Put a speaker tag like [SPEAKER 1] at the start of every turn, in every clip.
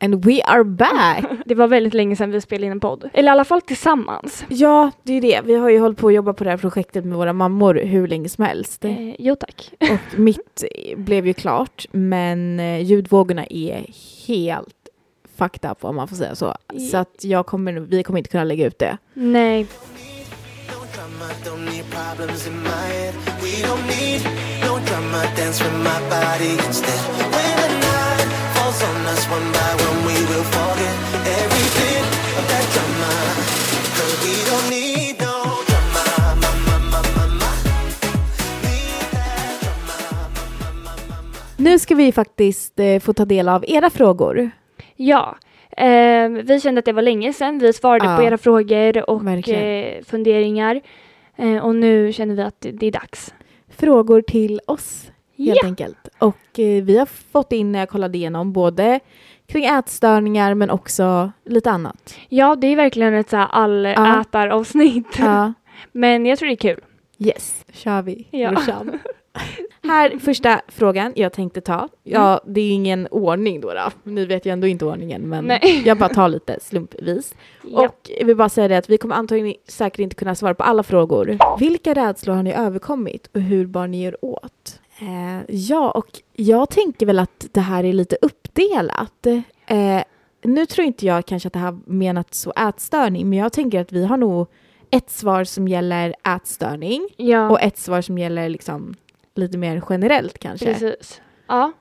[SPEAKER 1] And we are back!
[SPEAKER 2] Det var väldigt länge sedan vi spelade in en podd. Eller i alla fall tillsammans.
[SPEAKER 1] Ja, det är det. Vi har ju hållit på att jobba på det här projektet med våra mammor hur länge som helst.
[SPEAKER 2] Eh, jo tack.
[SPEAKER 1] Och mitt blev ju klart, men eh, ljudvågorna är helt fucked up om man får säga så. Så att jag kommer, vi kommer inte kunna lägga ut det.
[SPEAKER 2] Nej.
[SPEAKER 3] No drama, don't need problems in my head. We don't need no drama, dance with my body instead. When the night falls on us one by one, we will forget every bit of that drama. Cause we don't need no drama, ma, ma, ma, ma, ma. Need that drama.
[SPEAKER 1] Nu ska vi faktiskt eh, få ta del av era frågor.
[SPEAKER 2] Ja. Eh, vi kände att det var länge sedan. Vi svarade
[SPEAKER 1] Ja.
[SPEAKER 2] på era frågor och
[SPEAKER 1] Verkligen.
[SPEAKER 2] eh, funderingar. Eh, och nu känner vi att det- det är dags.
[SPEAKER 1] Frågor till oss, helt
[SPEAKER 2] Ja.
[SPEAKER 1] enkelt. Och eh, vi har fått in, när jag kollade igenom, både kring ätstörningar men också lite annat.
[SPEAKER 2] ja, det är verkligen ett så här allätaravsnitt.
[SPEAKER 1] Ja,
[SPEAKER 2] Men jag tror det är kul.
[SPEAKER 1] yes, kör vi.
[SPEAKER 2] Ja.
[SPEAKER 1] brorsan. Här, första frågan jag tänkte ta. Ja, det är ingen ordning då. då. Ni vet ju ändå inte ordningen, men
[SPEAKER 2] Nej.
[SPEAKER 1] jag bara tar lite slumpvis.
[SPEAKER 2] Ja.
[SPEAKER 1] Och jag vill bara säga det att vi kommer antagligen säkert inte kunna svara på alla frågor. Vilka rädslor har ni överkommit och hur bar ni er åt? Eh, ja, och jag tänker väl att det här är lite uppdelat. Eh, nu tror inte jag kanske att det här menat så ätstörning, men jag tänker att vi har nog ett svar som gäller ätstörning
[SPEAKER 2] ja.
[SPEAKER 1] och ett svar som gäller liksom lite mer generellt kanske.
[SPEAKER 2] Precis. Ja.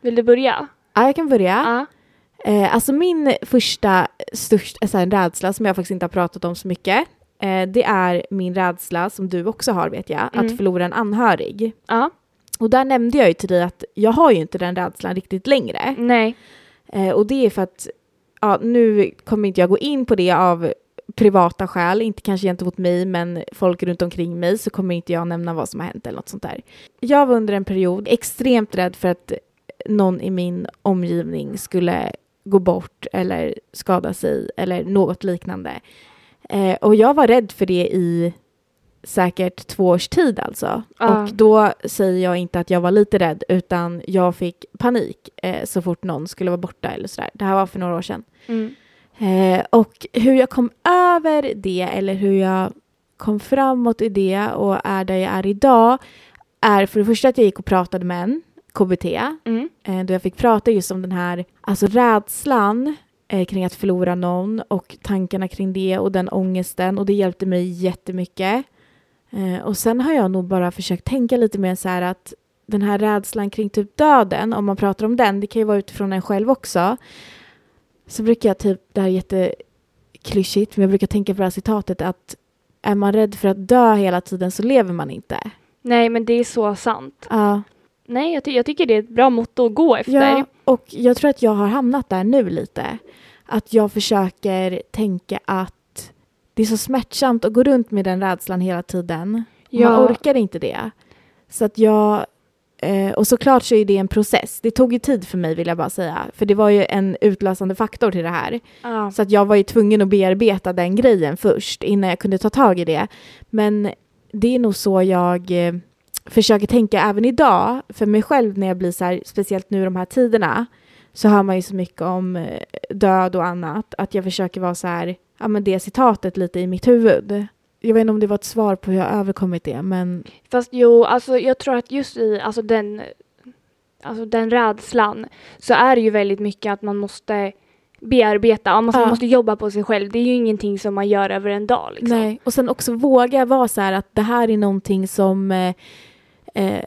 [SPEAKER 2] Vill du börja?
[SPEAKER 1] Ja, jag kan börja.
[SPEAKER 2] Ja.
[SPEAKER 1] Eh, alltså min första största så här, rädsla som jag faktiskt inte har pratat om så mycket. Eh, det är min rädsla som du också har vet jag,
[SPEAKER 2] Mm.
[SPEAKER 1] att förlora en anhörig.
[SPEAKER 2] Ja.
[SPEAKER 1] Och där nämnde jag ju till dig att jag har ju inte den rädslan riktigt längre.
[SPEAKER 2] Nej.
[SPEAKER 1] Eh, och det är för att ja, nu kommer inte jag gå in på det av privata skäl, inte kanske gentemot mig men folk runt omkring mig så kommer inte jag nämna vad som har hänt eller något sånt där. Jag var under en period extremt rädd för att någon i min omgivning skulle gå bort eller skada sig eller något liknande. Eh, och jag var rädd för det i säkert två års tid alltså.
[SPEAKER 2] Ja.
[SPEAKER 1] Och då säger jag inte att jag var lite rädd utan jag fick panik eh, så fort någon skulle vara borta eller sådär. Det här var för några år sedan.
[SPEAKER 2] Mm.
[SPEAKER 1] Eh, och hur jag kom över det eller hur jag kom framåt i det och är där jag är idag är för det första att jag gick och pratade med en, KBT,
[SPEAKER 2] Mm.
[SPEAKER 1] eh, då jag fick prata just om den här alltså rädslan eh, kring att förlora någon och tankarna kring det och den ångesten och det hjälpte mig jättemycket. Eh, och sen har jag nog bara försökt tänka lite mer så här att den här rädslan kring typ döden, om man pratar om den, det kan ju vara utifrån en själv också. Så brukar jag typ, det här är jätteklyschigt, men jag brukar tänka på det här citatet att är man rädd för att dö hela tiden så lever man inte.
[SPEAKER 2] Nej, men det är så sant.
[SPEAKER 1] Ja.
[SPEAKER 2] Nej, jag, ty- jag tycker det är ett bra motto att gå efter.
[SPEAKER 1] Ja, och jag tror att jag har hamnat där nu lite. Att jag försöker tänka att det är så smärtsamt att gå runt med den rädslan hela tiden. Man
[SPEAKER 2] Ja.
[SPEAKER 1] orkar inte det. Så att jag... Eh, och såklart så är det en process. Det tog ju tid för mig vill jag bara säga. För det var ju en utlösande faktor till det här.
[SPEAKER 2] Ja.
[SPEAKER 1] Så att jag var ju tvungen att bearbeta den grejen först innan jag kunde ta tag i det. Men det är nog så jag eh, försöker tänka även idag för mig själv när jag blir så här, speciellt nu de här tiderna, så hör man ju så mycket om eh, död och annat, att jag försöker vara så här, ja men det citatet lite i mitt huvud. Jag vet inte om det var ett svar på hur jag överkommit det, men
[SPEAKER 2] Fast jo, alltså jag tror att just i alltså den, alltså den rädslan så är det ju väldigt mycket att man måste bearbeta, Ja, man
[SPEAKER 1] Ja.
[SPEAKER 2] måste jobba på sig själv. Det är ju ingenting som man gör över en dag. Liksom.
[SPEAKER 1] Nej, och sen också våga vara så här att det här är någonting som... eh, Eh,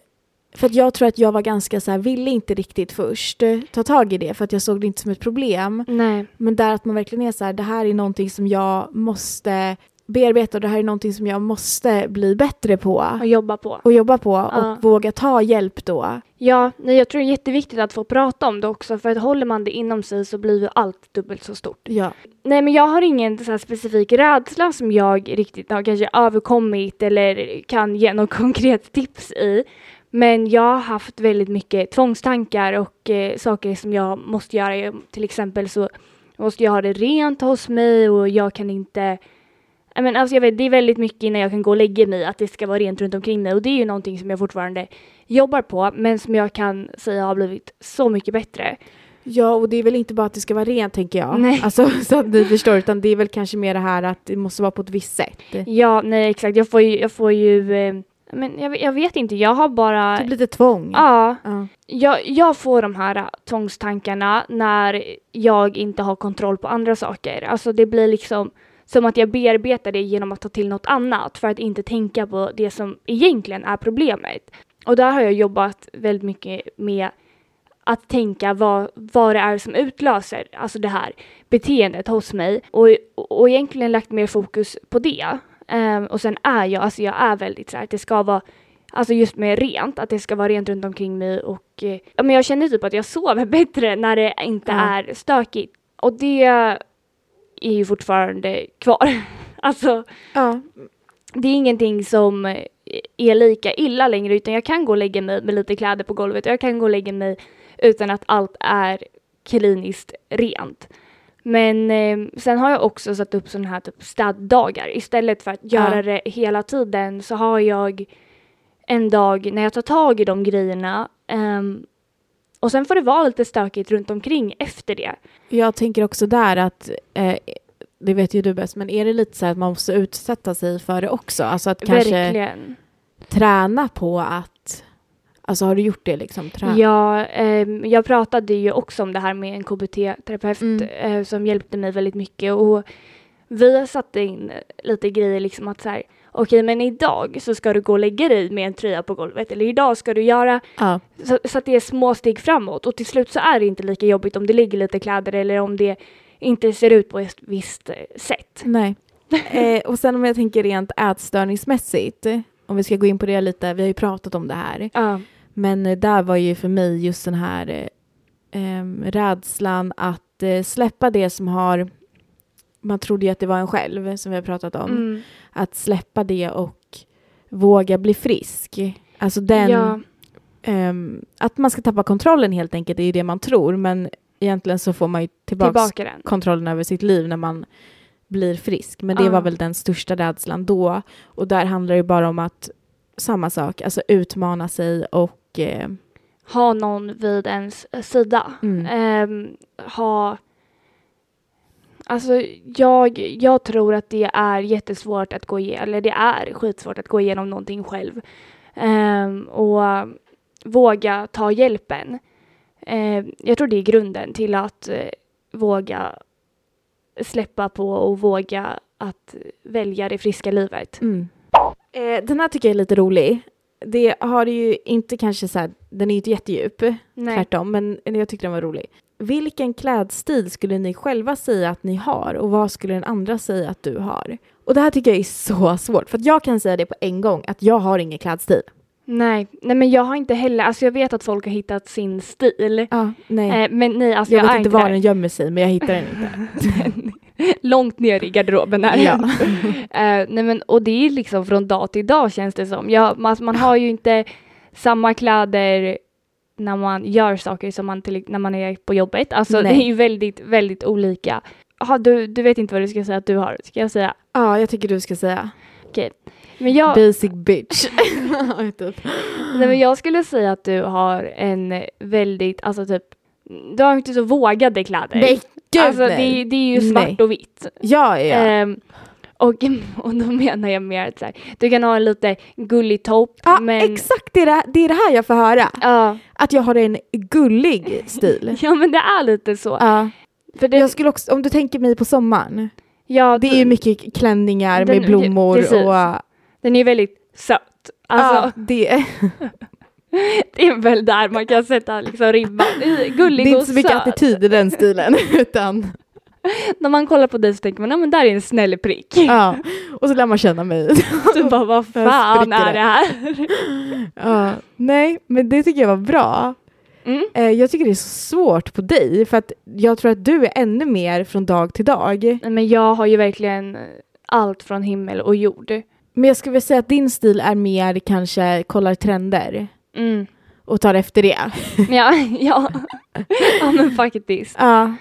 [SPEAKER 1] för att jag tror att jag var ganska så här, ville inte riktigt först eh, ta tag i det för att jag såg det inte som ett problem.
[SPEAKER 2] Nej.
[SPEAKER 1] Men där att man verkligen är så här, det här är någonting som jag måste bearbeta och det här är någonting som jag måste bli bättre på
[SPEAKER 2] Och jobba på.
[SPEAKER 1] och jobba på
[SPEAKER 2] Ja.
[SPEAKER 1] och våga ta hjälp då.
[SPEAKER 2] Ja, nej, jag tror det är jätteviktigt att få prata om det också för att håller man det inom sig så blir ju allt dubbelt så stort.
[SPEAKER 1] Ja.
[SPEAKER 2] Nej, men jag har ingen så här specifik rädsla som jag riktigt har kanske överkommit eller kan ge något konkret tips i. Men jag har haft väldigt mycket tvångstankar och eh, saker som jag måste göra. Jag, till exempel så måste jag ha det rent hos mig och jag kan inte... Jag men, alltså jag vet, det är väldigt mycket innan jag kan gå och lägga mig, att det ska vara rent runt omkring mig. Och det är ju någonting som jag fortfarande jobbar på, men som jag kan säga har blivit så mycket bättre.
[SPEAKER 1] Ja, och det är väl inte bara att det ska vara rent tänker jag.
[SPEAKER 2] Nej.
[SPEAKER 1] Alltså, så att ni förstår, utan det är väl kanske mer det här att det måste vara på ett visst sätt.
[SPEAKER 2] Ja, nej exakt. Jag får ju, jag får ju eh, men jag, jag vet inte, jag har bara...
[SPEAKER 1] Typ lite tvång.
[SPEAKER 2] Ja,
[SPEAKER 1] Ja.
[SPEAKER 2] jag, jag får de här eh, tvångstankarna när jag inte har kontroll på andra saker. Alltså det blir liksom som att jag bearbetar det genom att ta till något annat för att inte tänka på det som egentligen är problemet. Och där har jag jobbat väldigt mycket med att tänka vad, vad det är som utlöser alltså det här beteendet hos mig och, och egentligen lagt mer fokus på det. Ehm, och sen är jag, alltså jag är väldigt så här, att det ska vara, alltså just med rent, att det ska vara rent runt omkring mig och eh, ja, men jag känner typ att jag sover bättre när det inte
[SPEAKER 1] Ja.
[SPEAKER 2] är stökigt. Och det är ju fortfarande kvar. alltså
[SPEAKER 1] ja.
[SPEAKER 2] det är ingenting som eh, är lika illa längre utan jag kan gå och lägga mig med lite kläder på golvet och jag kan gå och lägga mig utan att allt är kliniskt rent. Men eh, sen har jag också satt upp sådana här typ städdagar. Istället för att
[SPEAKER 1] Ja.
[SPEAKER 2] göra det hela tiden så har jag en dag när jag tar tag i de grejerna ehm, och sen får det vara lite stökigt runt omkring efter det.
[SPEAKER 1] Jag tänker också där att, eh, det vet ju du bäst, men är det lite så här att man måste utsätta sig för det också? Alltså att kanske
[SPEAKER 2] Verkligen.
[SPEAKER 1] träna på att, alltså har du gjort det liksom? Träna?
[SPEAKER 2] Ja, ehm, jag pratade ju också om det här med en KBT-terapeut
[SPEAKER 1] Mm.
[SPEAKER 2] eh, som hjälpte mig väldigt mycket och vi satte in lite grejer liksom att så här okej men idag så ska du gå och lägga dig med en tröja på golvet eller idag ska du göra
[SPEAKER 1] Ja.
[SPEAKER 2] så, så att det är små steg framåt och till slut så är det inte lika jobbigt om det ligger lite kläder eller om det inte ser ut på ett visst eh, sätt.
[SPEAKER 1] Nej. Eh, och sen om jag tänker rent ätstörningsmässigt, om vi ska gå in på det lite, vi har ju pratat om det här.
[SPEAKER 2] Ja,
[SPEAKER 1] Men eh, där var ju för mig just den här eh, em, rädslan att eh, släppa det som har... Man trodde ju att det var en själv, som vi har pratat om.
[SPEAKER 2] mm.
[SPEAKER 1] Att släppa det och våga bli frisk. Alltså den...
[SPEAKER 2] ja,
[SPEAKER 1] em, att man ska tappa kontrollen helt enkelt är ju det man tror, men egentligen så får man ju tillbaka
[SPEAKER 2] tillbaka den.
[SPEAKER 1] kontrollen över sitt liv när man blir frisk. Men det
[SPEAKER 2] Ja.
[SPEAKER 1] var väl den största rädslan då. Och där handlar det ju bara om att samma sak, alltså utmana sig och eh,
[SPEAKER 2] Ha någon vid ens eh, sida.
[SPEAKER 1] mm.
[SPEAKER 2] Ehm, ha... Alltså jag, jag tror att det är jättesvårt att gå igenom, eller det är skitsvårt att gå igenom någonting själv. Ehm, och eh, våga ta hjälpen. Ehm, jag tror det är grunden till att eh, våga släppa på och våga att välja det friska livet.
[SPEAKER 1] Mm. Eh, den här tycker jag är lite rolig. Det har ju inte kanske så här, den är ju inte jättedjup,
[SPEAKER 2] Nej.
[SPEAKER 1] tvärtom, men jag tyckte den var rolig. Vilken klädstil skulle ni själva säga att ni har och vad skulle den andra säga att du har? Och det här tycker jag är så svårt, för att jag kan säga det på en gång, att jag har ingen klädstil.
[SPEAKER 2] Nej. Nej, men jag har inte heller, alltså jag vet att folk har hittat sin stil.
[SPEAKER 1] Ja, nej.
[SPEAKER 2] Eh, men nej, alltså
[SPEAKER 1] jag
[SPEAKER 2] jag,
[SPEAKER 1] vet
[SPEAKER 2] är
[SPEAKER 1] inte
[SPEAKER 2] inte
[SPEAKER 1] var
[SPEAKER 2] där.
[SPEAKER 1] den gömmer sig, men jag hittar den inte.
[SPEAKER 2] långt ner i garderoben här.
[SPEAKER 1] Ja.
[SPEAKER 2] Eh, nej men, och det är liksom från dag till dag känns det som. Ja, man, alltså, man har ju inte samma kläder när man gör saker som man till, när man är på jobbet. Alltså
[SPEAKER 1] Nej.
[SPEAKER 2] det är ju väldigt, väldigt olika. Aha, du, du vet inte vad du ska säga att du har, ska jag säga.
[SPEAKER 1] Ja, jag tycker du ska säga
[SPEAKER 2] Men jag,
[SPEAKER 1] basic bitch. Ja, typ.
[SPEAKER 2] nej, men jag skulle säga att du har en väldigt, alltså typ, du har inte så vågade kläder.
[SPEAKER 1] Nej, gud
[SPEAKER 2] alltså, det,
[SPEAKER 1] nej.
[SPEAKER 2] är- det är ju svart
[SPEAKER 1] Nej.
[SPEAKER 2] och vitt.
[SPEAKER 1] Ja, ja. ja.
[SPEAKER 2] Ehm, och, och då menar jag mer att så här, du kan ha en lite gullig topp.
[SPEAKER 1] ja
[SPEAKER 2] men,
[SPEAKER 1] Exakt, det är det, det är det här jag får höra.
[SPEAKER 2] Ja,
[SPEAKER 1] Att jag har en gullig stil.
[SPEAKER 2] ja, men det är lite så.
[SPEAKER 1] Ja.
[SPEAKER 2] För det,
[SPEAKER 1] Jag skulle också, om du tänker mig på sommaren.
[SPEAKER 2] ja,
[SPEAKER 1] Det är ju mycket klänningar
[SPEAKER 2] Den-
[SPEAKER 1] med blommor
[SPEAKER 2] precis.
[SPEAKER 1] och...
[SPEAKER 2] Den är väldigt söt.
[SPEAKER 1] ja,
[SPEAKER 2] Alltså,
[SPEAKER 1] det,
[SPEAKER 2] Det är väl där man kan sätta liksom ribban. I
[SPEAKER 1] det
[SPEAKER 2] Gullig
[SPEAKER 1] är
[SPEAKER 2] och
[SPEAKER 1] inte så mycket
[SPEAKER 2] söt.
[SPEAKER 1] attityd i den stilen. Utan,
[SPEAKER 2] När man kollar på dig så tänker man, ja men där är en snäll prick.
[SPEAKER 1] ja. Och så lär man känna mig.
[SPEAKER 2] Du bara, vad
[SPEAKER 1] Jag
[SPEAKER 2] fan
[SPEAKER 1] spricker
[SPEAKER 2] är det här?
[SPEAKER 1] Ja. Nej, men det tycker jag var bra.
[SPEAKER 2] Mm.
[SPEAKER 1] Eh, Jag tycker det är så svårt på dig för att jag tror att du är ännu mer från dag till dag.
[SPEAKER 2] Nej, Men jag har ju verkligen eh, allt från himmel och jord.
[SPEAKER 1] Men jag skulle vilja säga att din stil är mer kanske kollar trender
[SPEAKER 2] Mm.
[SPEAKER 1] och tar efter det.
[SPEAKER 2] Ja, ja. ja, men faktiskt.
[SPEAKER 1] Ja.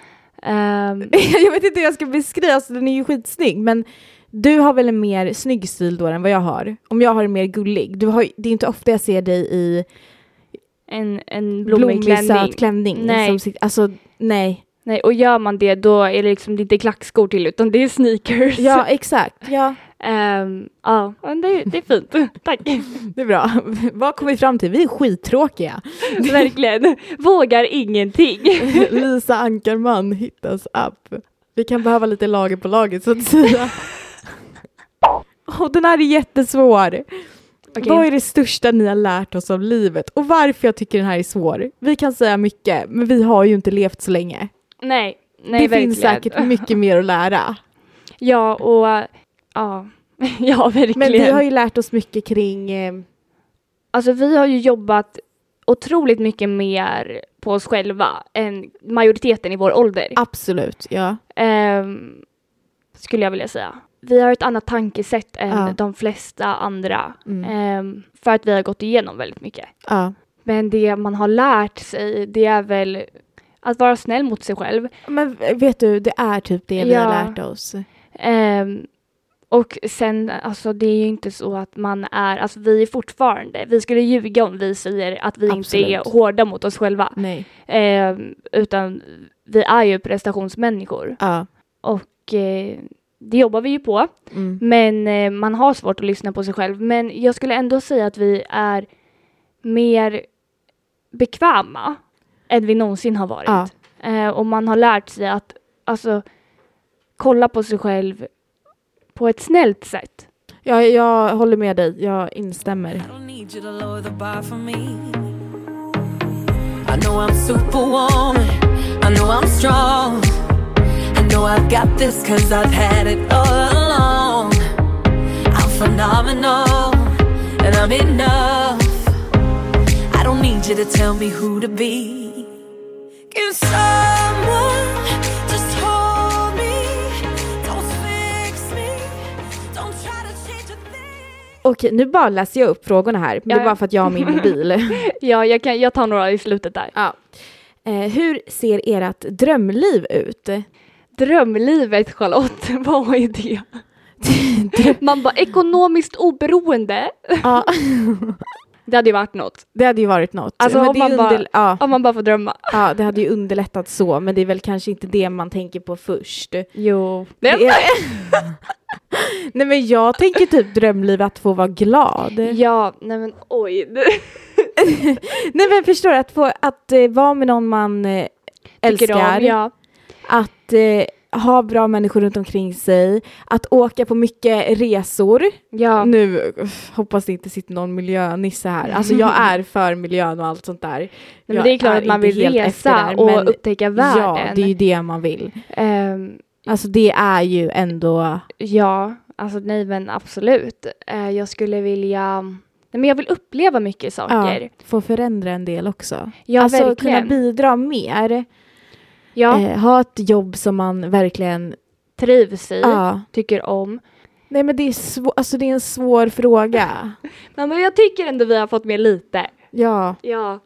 [SPEAKER 2] Ehm,
[SPEAKER 1] jag vet inte hur jag ska beskriva, alltså, den är ju skitsnygg men du har väl en mer snygg stil då än vad jag har? Om jag har en mer gullig. Du har, ju- det är inte ofta jag ser dig i
[SPEAKER 2] en, en blommig
[SPEAKER 1] blommig
[SPEAKER 2] klänning.
[SPEAKER 1] söt klänning.
[SPEAKER 2] Nej.
[SPEAKER 1] Som, sitter- alltså, Nej.
[SPEAKER 2] Nej, och gör man det då är det liksom det är inte klackskor till utan det är sneakers.
[SPEAKER 1] Ja, exakt. Ja,
[SPEAKER 2] Ehm, ja, men det, det är fint. Tack.
[SPEAKER 1] det är bra. Vad kom vi fram till? Vi är skittråkiga.
[SPEAKER 2] Verkligen. Vågar ingenting.
[SPEAKER 1] Lisa Ankarman hittas upp. Vi kan behöva lite lager på lager så att säga. Åh, den här är jättesvår.
[SPEAKER 2] Okej.
[SPEAKER 1] Vad är det största ni har lärt oss av livet och varför jag tycker den här är svår? Vi kan säga mycket, men vi har ju inte levt så länge.
[SPEAKER 2] Nej, nej
[SPEAKER 1] det
[SPEAKER 2] verkligen.
[SPEAKER 1] finns säkert mycket mer att lära.
[SPEAKER 2] Ja, och ja, ja verkligen.
[SPEAKER 1] Men vi har ju lärt oss mycket kring... eh,
[SPEAKER 2] Alltså vi har ju jobbat otroligt mycket mer på oss själva än majoriteten i vår ålder.
[SPEAKER 1] Absolut, ja.
[SPEAKER 2] Ehm, skulle jag vilja säga. Vi har ett annat tankesätt än
[SPEAKER 1] Ja.
[SPEAKER 2] de flesta andra.
[SPEAKER 1] Mm.
[SPEAKER 2] ehm, för att vi har gått igenom väldigt mycket.
[SPEAKER 1] ja.
[SPEAKER 2] Men det man har lärt sig, det är väl att vara snäll mot sig själv.
[SPEAKER 1] Men vet du, det är typ det vi har
[SPEAKER 2] Ja.
[SPEAKER 1] lärt oss.
[SPEAKER 2] Ehm, och sen, alltså det är ju inte så att man är, alltså vi är fortfarande, vi skulle ljuga om vi säger att vi inte
[SPEAKER 1] Absolut.
[SPEAKER 2] är hårda mot oss själva.
[SPEAKER 1] Nej.
[SPEAKER 2] Ehm, utan vi är ju prestationsmänniskor
[SPEAKER 1] Ja.
[SPEAKER 2] och eh, det jobbar vi ju på.
[SPEAKER 1] Mm.
[SPEAKER 2] Men eh, man har svårt att lyssna på sig själv. Men jag skulle ändå säga att vi är mer bekväma än vi någonsin har varit.
[SPEAKER 1] Ja.
[SPEAKER 2] Eh, och man har lärt sig att alltså, kolla på sig själv på ett snällt sätt.
[SPEAKER 1] Jag, jag håller med dig, jag instämmer.
[SPEAKER 4] I don't need you to lower the bar for me. I know I'm superwoman. I know I'm strong. I know I've got this cause I've had it all along. I'm phenomenal and I'm enough. I don't need you to tell me who to be. Can someone just hold me? Don't fix me. Don't try to change a thing.
[SPEAKER 1] Okej, nu bara läser jag upp frågorna här, men det
[SPEAKER 2] Ja,
[SPEAKER 1] är
[SPEAKER 2] ja.
[SPEAKER 1] bara för att jag har min mobil.
[SPEAKER 2] Ja, jag, kan, jag tar några i slutet där.
[SPEAKER 1] ja. eh, hur ser ert drömliv ut?
[SPEAKER 2] Drömlivet Charlotte, vad är det? Man bara ekonomiskt oberoende.
[SPEAKER 1] ja,
[SPEAKER 2] Det hade ju varit något.
[SPEAKER 1] det hade ju varit något.
[SPEAKER 2] Alltså,
[SPEAKER 1] men
[SPEAKER 2] om
[SPEAKER 1] det är
[SPEAKER 2] man
[SPEAKER 1] ju
[SPEAKER 2] bara-
[SPEAKER 1] underl- ja,
[SPEAKER 2] Om man bara får drömma.
[SPEAKER 1] ja, det hade ju underlättat så, men det är väl kanske inte det man tänker på först.
[SPEAKER 2] Jo.
[SPEAKER 1] Det är... Nej men jag tänker typ drömliv att få vara glad.
[SPEAKER 2] Ja, nej men oj.
[SPEAKER 1] Nej men förstår du, att, få, att eh, vara med någon man eh,
[SPEAKER 2] Tycker
[SPEAKER 1] älskar,
[SPEAKER 2] Om, ja.
[SPEAKER 1] att eh, ha bra människor runt omkring sig, att åka på mycket resor.
[SPEAKER 2] ja.
[SPEAKER 1] Nu uff, hoppas det inte sitter någon miljönisse här. Alltså jag är för miljön och allt sånt där.
[SPEAKER 2] Nej, men
[SPEAKER 1] Jag
[SPEAKER 2] det är klart att man
[SPEAKER 1] inte
[SPEAKER 2] vill
[SPEAKER 1] helt
[SPEAKER 2] resa
[SPEAKER 1] efter där,
[SPEAKER 2] och
[SPEAKER 1] men
[SPEAKER 2] upptäcka världen.
[SPEAKER 1] Ja, det är ju det man vill.
[SPEAKER 2] Ehm,
[SPEAKER 1] Alltså det är ju ändå...
[SPEAKER 2] ja, alltså nej men absolut. Eh, jag skulle vilja... Nej men jag vill uppleva mycket saker.
[SPEAKER 1] Ja, få förändra en del också.
[SPEAKER 2] Ja,
[SPEAKER 1] alltså
[SPEAKER 2] verkligen.
[SPEAKER 1] kunna bidra mer.
[SPEAKER 2] ja,
[SPEAKER 1] Eh, ha ett jobb som man verkligen...
[SPEAKER 2] trivs i,
[SPEAKER 1] Ja.
[SPEAKER 2] tycker om.
[SPEAKER 1] Nej men det är, svå- alltså, det är en svår fråga.
[SPEAKER 2] Men, men jag tycker ändå vi har fått med lite.
[SPEAKER 1] Ja.
[SPEAKER 2] Ja.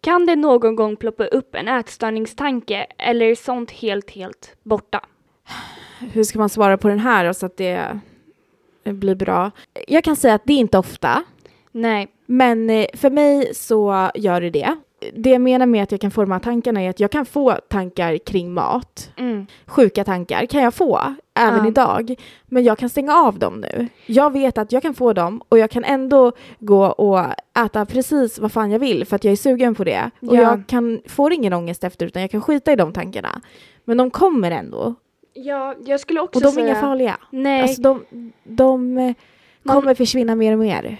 [SPEAKER 2] Kan det någon gång ploppa upp en ätstörningstanke eller är sånt helt, helt borta?
[SPEAKER 1] Hur ska man svara på den här då, så att det blir bra? Jag kan säga att det är inte ofta.
[SPEAKER 2] Nej.
[SPEAKER 1] Men eh, för mig så gör det det. Det jag menar med att jag kan forma tankarna är att jag kan få tankar kring mat.
[SPEAKER 2] Mm.
[SPEAKER 1] Sjuka tankar kan jag få, även
[SPEAKER 2] Ja.
[SPEAKER 1] idag. Men jag kan stänga av dem nu. Jag vet att jag kan få dem och jag kan ändå gå och äta precis vad fan jag vill för att jag är sugen på det. Och
[SPEAKER 2] Ja.
[SPEAKER 1] jag kan, får ingen ångest efter utan jag kan skita i de tankarna. Men de kommer ändå.
[SPEAKER 2] Ja, jag skulle också
[SPEAKER 1] Och de är
[SPEAKER 2] säga...
[SPEAKER 1] inga farliga.
[SPEAKER 2] Nej,
[SPEAKER 1] Alltså de, de eh,
[SPEAKER 2] Man-
[SPEAKER 1] kommer försvinna mer och mer.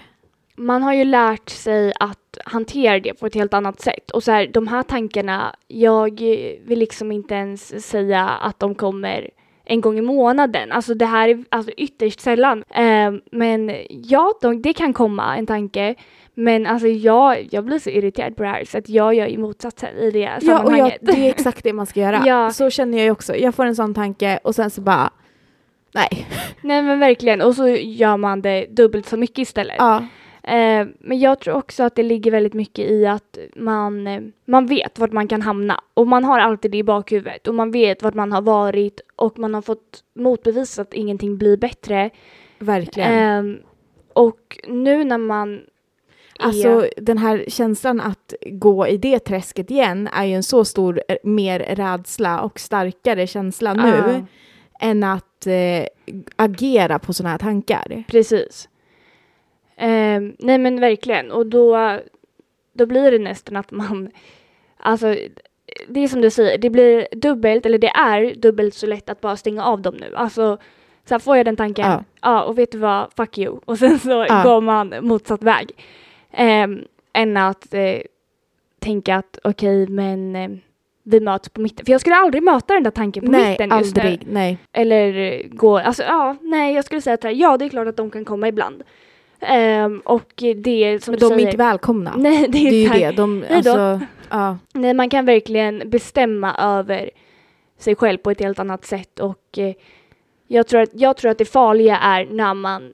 [SPEAKER 2] man har ju lärt sig att hantera det på ett helt annat sätt. Och så här, de här tankarna, jag eh, vill liksom inte ens säga att de kommer en gång i månaden. Alltså det här är alltså ytterst sällan. Eh, men ja, de, det kan komma en tanke. Men alltså jag, jag blir så irriterad på det här så att jag gör ju motsatsen i det
[SPEAKER 1] Ja, och jag,
[SPEAKER 2] Alltså, sammanhanget.
[SPEAKER 1] det är exakt det man ska göra.
[SPEAKER 2] Ja.
[SPEAKER 1] Så känner jag ju också. Jag får en sån tanke och sen så bara, nej.
[SPEAKER 2] Nej men verkligen, och så gör man det dubbelt så mycket istället.
[SPEAKER 1] Ja,
[SPEAKER 2] Eh, men jag tror också att det ligger väldigt mycket i att man, eh, man vet vart man kan hamna och man har alltid det i bakhuvudet och man vet vart man har varit och man har fått motbevis att ingenting blir bättre.
[SPEAKER 1] verkligen.
[SPEAKER 2] Eh, och nu när man
[SPEAKER 1] Alltså den här känslan att gå i det träsket igen är ju en så stor eh, mer rädsla och starkare känsla nu
[SPEAKER 2] Ja,
[SPEAKER 1] än att eh, agera på sådana här tankar.
[SPEAKER 2] precis. Ehm, nej men verkligen, och då, då blir det nästan att man, alltså det är som du säger, det blir dubbelt, eller det är dubbelt så lätt att bara stänga av dem nu. Alltså, så här får jag den tanken,
[SPEAKER 1] Ja.
[SPEAKER 2] ja och vet du vad, fuck you. Och sen så
[SPEAKER 1] Ja.
[SPEAKER 2] går man motsatt väg. Ehm, än att eh, tänka att okej, men eh, vi möts på mitten. För jag skulle aldrig möta den där tanken på
[SPEAKER 1] nej,
[SPEAKER 2] mitten just nu.
[SPEAKER 1] aldrig. Nej.
[SPEAKER 2] Eller eh, gå, alltså ja, nej jag skulle säga att så här, ja det är klart att de kan komma ibland. Ehm, och eh, det är som
[SPEAKER 1] Men
[SPEAKER 2] du
[SPEAKER 1] de är
[SPEAKER 2] säger.
[SPEAKER 1] inte välkomna.
[SPEAKER 2] Nej, det
[SPEAKER 1] det
[SPEAKER 2] är,
[SPEAKER 1] är ju
[SPEAKER 2] så här,
[SPEAKER 1] det. De,
[SPEAKER 2] Hej då.
[SPEAKER 1] alltså, ja,
[SPEAKER 2] Nej, man kan verkligen bestämma över sig själv på ett helt annat sätt och eh, jag tror att, jag tror att det farliga är när man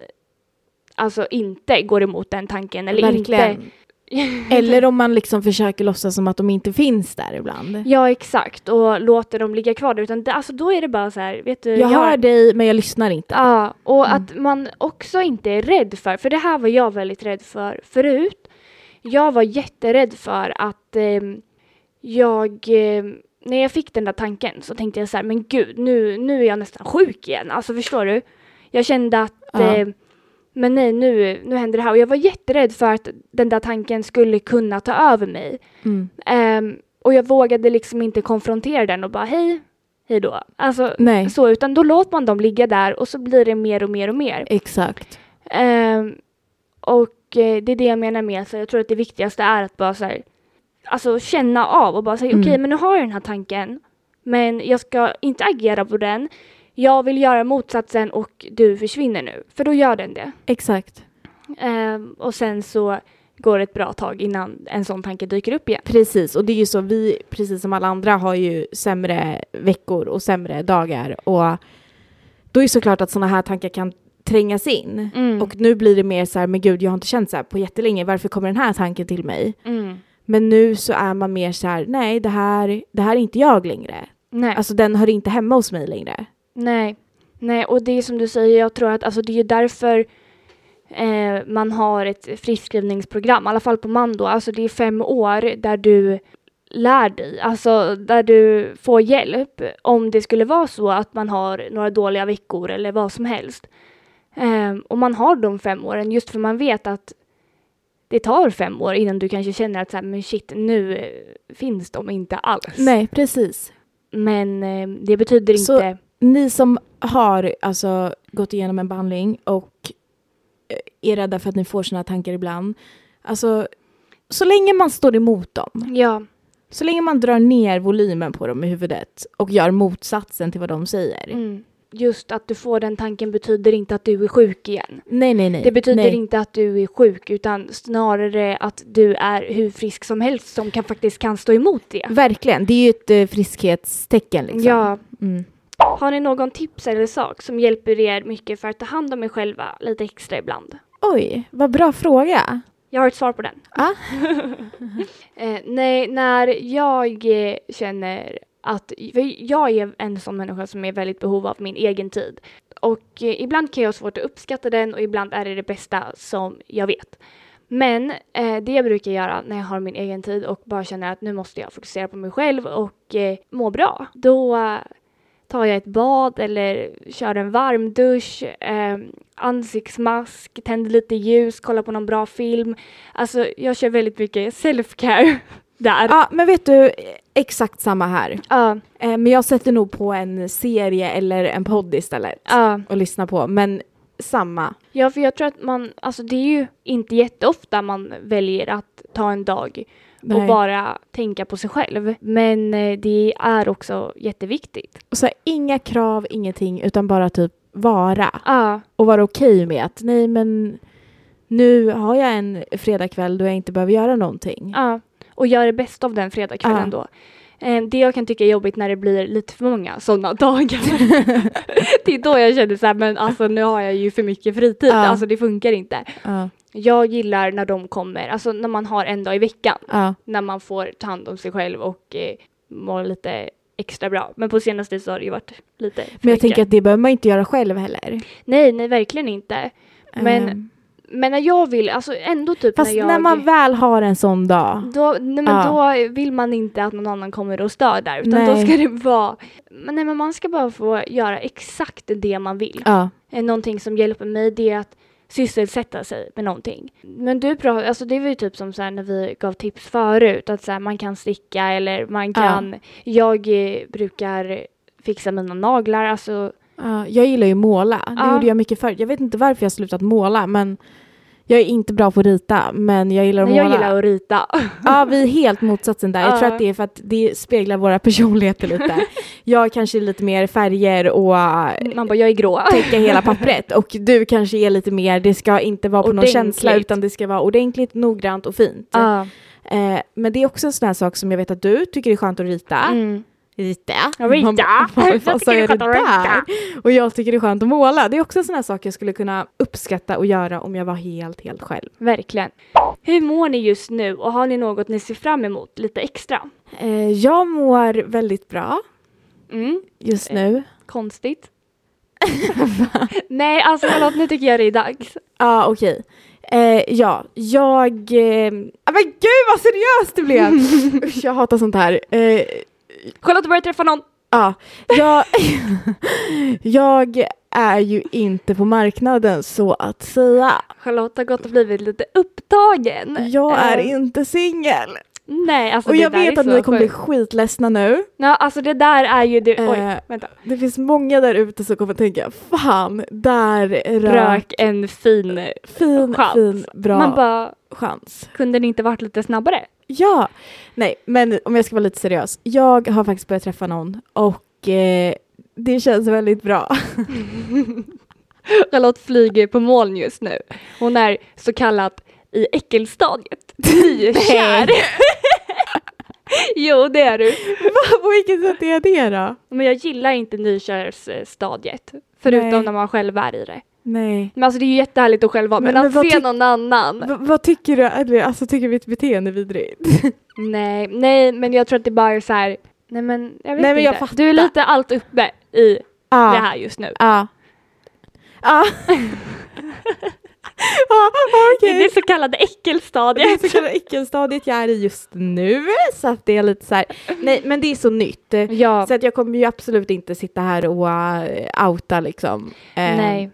[SPEAKER 2] alltså inte går emot den tanken eller
[SPEAKER 1] verkligen.
[SPEAKER 2] inte.
[SPEAKER 1] Eller om man liksom försöker låtsas som att de inte finns där ibland.
[SPEAKER 2] Ja, exakt och låter dem ligga kvar där utan det, alltså då är det bara så här, vet du.
[SPEAKER 1] Eh, Jag hör dig men jag lyssnar inte.
[SPEAKER 2] Ja, och att man också inte är rädd för, för det här var jag väldigt rädd för förut. Jag var jätterädd för att ehm, jag, ehm, när jag fick den där tanken så tänkte jag så här, men gud, nu, nu är jag nästan sjuk igen, alltså förstår du? Jag kände att,
[SPEAKER 1] Ja.
[SPEAKER 2] ehm, men nej, nu, nu händer det här. Och jag var jätterädd för att den där tanken skulle kunna ta över mig.
[SPEAKER 1] Mm.
[SPEAKER 2] Ehm, och jag vågade liksom inte konfrontera den och bara hej, hej då. Alltså,
[SPEAKER 1] Nej.
[SPEAKER 2] Så, utan då låter man dem ligga där och så blir det mer och mer och mer.
[SPEAKER 1] Exakt.
[SPEAKER 2] Ehm, och eh, det är det jag menar med, så jag tror att det viktigaste är att bara så här, alltså känna av och bara säga
[SPEAKER 1] Mm.
[SPEAKER 2] okej, men nu har jag den här tanken, men jag ska inte agera på den. Jag vill göra motsatsen och du försvinner nu, för då gör den det.
[SPEAKER 1] Exakt.
[SPEAKER 2] Ehm, och sen så går det ett bra tag innan en sån tanke dyker upp igen.
[SPEAKER 1] Precis, och det är ju så vi, precis som alla andra, har ju sämre veckor och sämre dagar. Och då är det såklart att sådana här tankar kan trängas in.
[SPEAKER 2] Mm.
[SPEAKER 1] Och nu blir det mer så här, men gud, jag har inte känt så här på jättelänge, varför kommer den här tanken till mig?
[SPEAKER 2] Mm.
[SPEAKER 1] Men nu så är man mer så här, nej, det här, det här är inte jag längre.
[SPEAKER 2] Nej.
[SPEAKER 1] Alltså den hör inte hemma hos mig längre.
[SPEAKER 2] Nej, nej, och det är som du säger, jag tror att alltså, det är ju därför eh, man har ett friskskrivningsprogram, i alla fall på Mando, alltså det är fem år där du lär dig, alltså där du får hjälp om det skulle vara så att man har några dåliga veckor eller vad som helst. Eh, och man har de fem åren just för man vet att det tar fem år innan du kanske känner att så här, men shit, nu eh, finns de inte alls.
[SPEAKER 1] Nej, precis.
[SPEAKER 2] Men eh, det betyder inte...
[SPEAKER 1] Så- Ni som har alltså, gått igenom en behandling och eh, är rädda för att ni får såna här tankar ibland. Alltså, så länge man står emot dem,
[SPEAKER 2] ja.
[SPEAKER 1] så länge man drar ner volymen på dem i huvudet och gör motsatsen till vad de säger.
[SPEAKER 2] Mm. Just att du får den tanken betyder inte att du är sjuk igen.
[SPEAKER 1] Nej, nej, nej.
[SPEAKER 2] Det betyder
[SPEAKER 1] nej.
[SPEAKER 2] inte att du är sjuk utan snarare att du är hur frisk som helst som kan, faktiskt kan stå emot det.
[SPEAKER 1] Mm, Verkligen, det är ju ett eh, friskhetstecken liksom.
[SPEAKER 2] Ja.
[SPEAKER 1] Mm.
[SPEAKER 2] Har ni någon tips eller sak som hjälper er mycket för att ta hand om er själva lite extra ibland?
[SPEAKER 1] Oj, vad bra fråga.
[SPEAKER 2] Jag har ett svar på den.
[SPEAKER 1] Ah.
[SPEAKER 2] eh, nej, när jag eh, känner att... För jag är en sån människa som är väldigt behov av min egen tid. Och eh, ibland kan jag ha svårt att uppskatta den och ibland är det det bästa som jag vet. Men eh, det jag brukar göra när jag har min egen tid och bara känner att nu måste jag fokusera på mig själv och eh, må bra. Då eh, tar jag ett bad eller kör en varm dusch, eh, ansiktsmask, tänder lite ljus, kollar på någon bra film. Alltså jag kör väldigt mycket self-care där.
[SPEAKER 1] Ja, men vet du, exakt samma här.
[SPEAKER 2] Ja,
[SPEAKER 1] Eh, Men jag sätter nog på en serie eller en podd istället
[SPEAKER 2] ja.
[SPEAKER 1] och lyssnar på. Men samma.
[SPEAKER 2] Ja, för jag tror att man, alltså det är ju inte jätteofta man väljer att ta en dag och
[SPEAKER 1] Nej.
[SPEAKER 2] bara tänka på sig själv. Men eh, det är också jätteviktigt.
[SPEAKER 1] Och så här, inga krav, ingenting, utan bara typ vara.
[SPEAKER 2] Ja,
[SPEAKER 1] Och vara okej med att nej men nu har jag en fredagkväll då jag inte behöver göra någonting.
[SPEAKER 2] ja. Och göra det bästa av den fredagskvällen
[SPEAKER 1] Ja.
[SPEAKER 2] då. Eh, Det jag kan tycka är jobbigt när det blir lite för många sådana dagar. det är då jag känner så här, men alltså nu har jag ju för mycket fritid,
[SPEAKER 1] Ja.
[SPEAKER 2] alltså det funkar inte.
[SPEAKER 1] Ja,
[SPEAKER 2] Jag gillar när de kommer, alltså när man har en dag i veckan,
[SPEAKER 1] ja,
[SPEAKER 2] när man får ta hand om sig själv och eh, må lite extra bra. Men på senaste så har det ju varit lite för
[SPEAKER 1] Men jag
[SPEAKER 2] mycket.
[SPEAKER 1] tänker att det behöver man inte göra själv heller.
[SPEAKER 2] Nej, nej verkligen inte. Men
[SPEAKER 1] Ehm,
[SPEAKER 2] Men när jag vill, alltså ändå typ
[SPEAKER 1] Fast
[SPEAKER 2] när jag...
[SPEAKER 1] när man väl har en sån dag.
[SPEAKER 2] då, nej, men
[SPEAKER 1] Ja.
[SPEAKER 2] då vill man inte att någon annan kommer och stör där utan då
[SPEAKER 1] Nej.
[SPEAKER 2] ska det vara... Men, nej, men man ska bara få göra exakt det man vill.
[SPEAKER 1] Ja.
[SPEAKER 2] Eh, Någonting som hjälper mig det är att sysselsätta sig med någonting. Men du pratar, alltså det var ju typ som så här när vi gav tips förut att så här, man kan sticka eller man
[SPEAKER 1] Ja.
[SPEAKER 2] kan... Jag eh, brukar fixa mina naglar, alltså
[SPEAKER 1] Ja, jag gillar ju måla. Det
[SPEAKER 2] Ja.
[SPEAKER 1] gjorde jag mycket förr. Jag vet inte varför jag har slutat måla men jag är inte bra på att rita men jag gillar att
[SPEAKER 2] nej, jag
[SPEAKER 1] måla.
[SPEAKER 2] gillar att rita.
[SPEAKER 1] Ja, vi är helt motsatsen där. Jag tror
[SPEAKER 2] Ja.
[SPEAKER 1] att det är för att det speglar våra personligheter lite. Jag kanske är lite mer färger och äh,
[SPEAKER 2] Man bara, jag är grå.
[SPEAKER 1] täcka hela pappret och du kanske är lite mer, det ska inte vara på någon
[SPEAKER 2] Ordentligt.
[SPEAKER 1] känsla utan det ska vara ordentligt, noggrant och fint.
[SPEAKER 2] Ja.
[SPEAKER 1] Eh, men det är också en sån här sak som jag vet att du tycker är skönt att rita.
[SPEAKER 2] Mm.
[SPEAKER 1] Rita?
[SPEAKER 2] Rita.
[SPEAKER 1] Man bara, Vad
[SPEAKER 2] Jag
[SPEAKER 1] fan
[SPEAKER 2] tycker
[SPEAKER 1] sa
[SPEAKER 2] det är
[SPEAKER 1] jag det
[SPEAKER 2] skönt att
[SPEAKER 1] där?
[SPEAKER 2] rita.
[SPEAKER 1] Och jag tycker det är skönt att måla. Det är också en sån här sak jag skulle kunna uppskatta och göra om jag var helt, helt själv.
[SPEAKER 2] Verkligen. Hur mår ni just nu och har ni något ni ser fram emot lite extra?
[SPEAKER 1] Eh, jag mår väldigt bra
[SPEAKER 2] Mm.
[SPEAKER 1] just nu.
[SPEAKER 2] Konstigt. Nej, alltså förlåt, nu tycker jag det är dags.
[SPEAKER 1] Ja, okej. Eh, ja, jag... Eh, ah, men gud vad seriöst det blev! Usch, jag hatar sånt här. Eh,
[SPEAKER 2] Charlotte börjar träffa någon.
[SPEAKER 1] ja, jag, jag är ju inte på marknaden så att säga.
[SPEAKER 2] Charlotte har gått och blivit lite upptagen.
[SPEAKER 1] Jag är
[SPEAKER 2] Eh,
[SPEAKER 1] inte singel.
[SPEAKER 2] Nej, alltså
[SPEAKER 1] Och
[SPEAKER 2] det
[SPEAKER 1] jag
[SPEAKER 2] där
[SPEAKER 1] vet
[SPEAKER 2] är
[SPEAKER 1] att
[SPEAKER 2] så
[SPEAKER 1] ni kommer bli
[SPEAKER 2] sjukt.
[SPEAKER 1] skitledsna nu.
[SPEAKER 2] Ja, alltså det där är ju det.
[SPEAKER 1] Eh,
[SPEAKER 2] Oj, vänta.
[SPEAKER 1] Det finns många där ute som kommer tänka fan, där rök
[SPEAKER 2] Rök en fin...
[SPEAKER 1] fin,
[SPEAKER 2] chans.
[SPEAKER 1] fin, bra
[SPEAKER 2] Man bara,
[SPEAKER 1] chans.
[SPEAKER 2] kunde det inte varit lite snabbare?
[SPEAKER 1] Ja, nej men om jag ska vara lite seriös. Jag har faktiskt börjat träffa någon och eh, det känns väldigt bra.
[SPEAKER 2] Charlotte flyger på moln just nu. Hon är så kallat i äckelstadiet. Nykär. jo, det är du.
[SPEAKER 1] Va, På vilket sätt är det då?
[SPEAKER 2] Men jag gillar inte nykärstadiet. Förutom
[SPEAKER 1] Nej.
[SPEAKER 2] när man själv är i det.
[SPEAKER 1] Nej.
[SPEAKER 2] Men alltså det är ju jättehärligt att själv vara,
[SPEAKER 1] Men-
[SPEAKER 2] men,
[SPEAKER 1] men
[SPEAKER 2] att
[SPEAKER 1] vad
[SPEAKER 2] se
[SPEAKER 1] tyck-
[SPEAKER 2] någon annan.
[SPEAKER 1] V- vad tycker du? Eller, alltså tycker mitt beteende är vidrigt?
[SPEAKER 2] Nej, nej, men jag tror att det bara är så här. Nej men jag vet
[SPEAKER 1] Nej,
[SPEAKER 2] inte.
[SPEAKER 1] men jag fattar.
[SPEAKER 2] Du är lite allt uppe i
[SPEAKER 1] Ah,
[SPEAKER 2] det här just nu.
[SPEAKER 1] Ja. Ja. Ja,
[SPEAKER 2] Det är
[SPEAKER 1] Ah, okej.
[SPEAKER 2] det så kallade
[SPEAKER 1] Det är
[SPEAKER 2] äckelstadiet.
[SPEAKER 1] så kallade äckelstadiet jag är i just nu så att det är lite så här. Nej men det är så nytt.
[SPEAKER 2] Ja,
[SPEAKER 1] Så att jag kommer ju absolut inte sitta här och eh, outa liksom. Eh,
[SPEAKER 2] nej.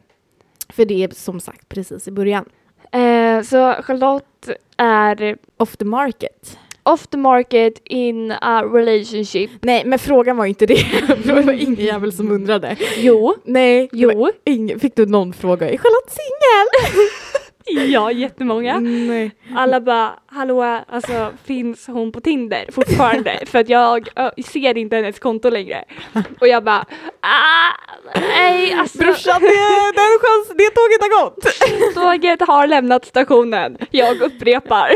[SPEAKER 1] För det är som sagt precis i början.
[SPEAKER 2] Eh, så Charlotte är
[SPEAKER 1] Off the market.
[SPEAKER 2] off the market in a relationship.
[SPEAKER 1] Nej, men frågan var ju inte det. det var ingen jävel som undrade.
[SPEAKER 2] Jo.
[SPEAKER 1] Nej, det var
[SPEAKER 2] Jo.
[SPEAKER 1] Ingen, fick du någon fråga? Är Charlotte singel?
[SPEAKER 2] Ja, jättemånga.
[SPEAKER 1] Nej.
[SPEAKER 2] Alla bara, hallå, alltså finns hon på Tinder fortfarande? För att jag ö, ser inte hennes konto längre. Och jag bara, ah, nej, alltså
[SPEAKER 1] Brorsan, det, den chans, det tåget har gått.
[SPEAKER 2] tåget har lämnat stationen. Jag upprepar.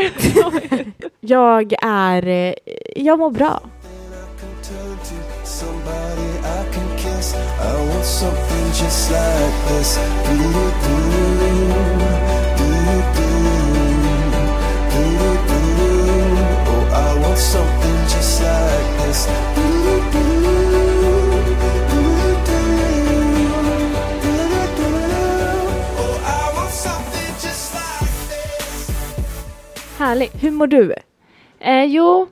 [SPEAKER 1] Jag är, eh, jag mår bra.
[SPEAKER 3] I can turn to somebody I can kiss. I want something just like this. Do do do do do do do do. Oh, I want something just like this. Do do do do do do do. Oh, I want something just like this.
[SPEAKER 2] Härligt.
[SPEAKER 1] Hur mår du?
[SPEAKER 2] Eh, jo,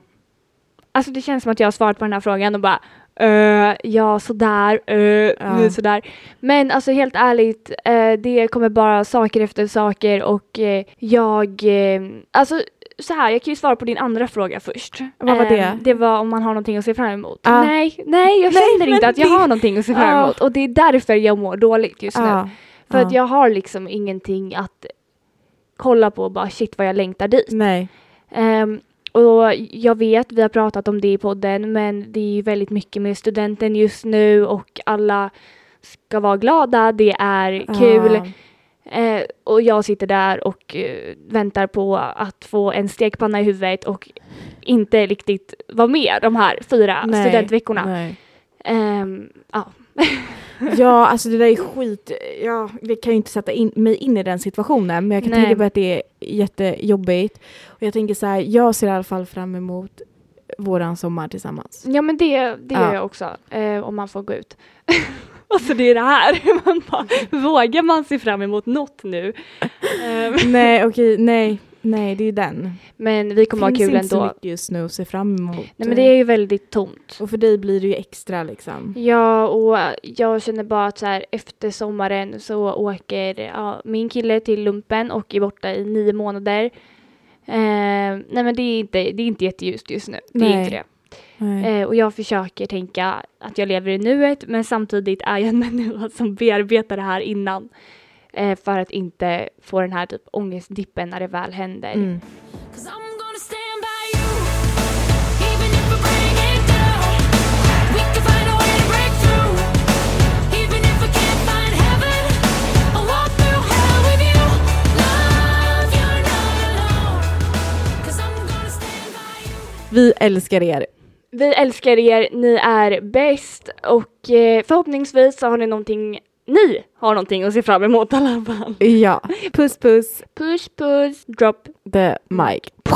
[SPEAKER 2] alltså det känns som att jag har svarat på den här frågan och bara eh, ja, sådär, eh, nu sådär. Men alltså helt ärligt, eh, det kommer bara saker efter saker och eh, jag, eh, alltså så här, jag kan ju svara på din andra fråga först.
[SPEAKER 1] Vad var
[SPEAKER 2] Eh,
[SPEAKER 1] det?
[SPEAKER 2] Det var om man har någonting att se fram emot.
[SPEAKER 1] Ah.
[SPEAKER 2] Nej, nej, jag
[SPEAKER 1] Nej,
[SPEAKER 2] känner
[SPEAKER 1] men
[SPEAKER 2] inte att jag
[SPEAKER 1] det-
[SPEAKER 2] har någonting att se fram
[SPEAKER 1] Ah.
[SPEAKER 2] emot och det är därför jag mår dåligt just nu.
[SPEAKER 1] Ja.
[SPEAKER 2] För att
[SPEAKER 1] ja.
[SPEAKER 2] jag har liksom ingenting att kolla på och bara shit vad jag längtar dit.
[SPEAKER 1] Nej.
[SPEAKER 2] Ehm, och jag vet, vi har pratat om det i podden, men det är ju väldigt mycket med studenten just nu och alla ska vara glada, det är kul.
[SPEAKER 1] Ja.
[SPEAKER 2] Eh, och jag sitter där och eh, väntar på att få en stekpanna i huvudet och inte riktigt vara med de här fyra
[SPEAKER 1] Nej,
[SPEAKER 2] studentveckorna.
[SPEAKER 1] Nej.
[SPEAKER 2] Ehm, ja.
[SPEAKER 1] Ja, alltså det där är skit. Ja, vi kan ju inte sätta in, mig in i den situationen, men jag kan
[SPEAKER 2] Nej.
[SPEAKER 1] tänka på att det är jättejobbigt. Och jag tänker så här, jag ser i alla fall fram emot våran sommar tillsammans.
[SPEAKER 2] ja, men det, det gör
[SPEAKER 1] Ja.
[SPEAKER 2] jag också, eh, om man får gå ut. alltså det är det här, man bara, vågar man se fram emot något nu? Ehm,
[SPEAKER 1] nej, okej, nej, nej, det är den.
[SPEAKER 2] men vi kommer
[SPEAKER 1] Finns
[SPEAKER 2] ha kul
[SPEAKER 1] inte så
[SPEAKER 2] ändå.
[SPEAKER 1] mycket just nu att se fram emot.
[SPEAKER 2] Nej men det är ju väldigt tomt.
[SPEAKER 1] Och för dig blir det ju extra liksom.
[SPEAKER 2] Ja, och jag känner bara att så här, efter sommaren så åker ja, min kille till lumpen och är borta i nio månader. Ehm, nej men det är inte, det är inte jätteljust just nu. Det är
[SPEAKER 1] Nej.
[SPEAKER 2] inte det.
[SPEAKER 1] Nej.
[SPEAKER 2] Eh, och jag försöker tänka att jag lever i nuet men samtidigt är jag en människa som bearbetar det här innan. Eh, för att inte få den här typ ångestdippen när det väl händer.
[SPEAKER 1] Mm.
[SPEAKER 5] Cause I'm gonna stand by you, even if we're breaking down. We can find a way to break through, even if we can't find heaven. I'll walk through hell with you. Love, you're not alone. Cause I'm gonna stand by you.
[SPEAKER 1] Vi älskar er.
[SPEAKER 2] Vi älskar er, ni är bäst och eh, förhoppningsvis så har ni någonting, ni har någonting att se fram emot i alla fall.
[SPEAKER 1] Ja, puss puss.
[SPEAKER 2] Puss puss, drop
[SPEAKER 1] The mic.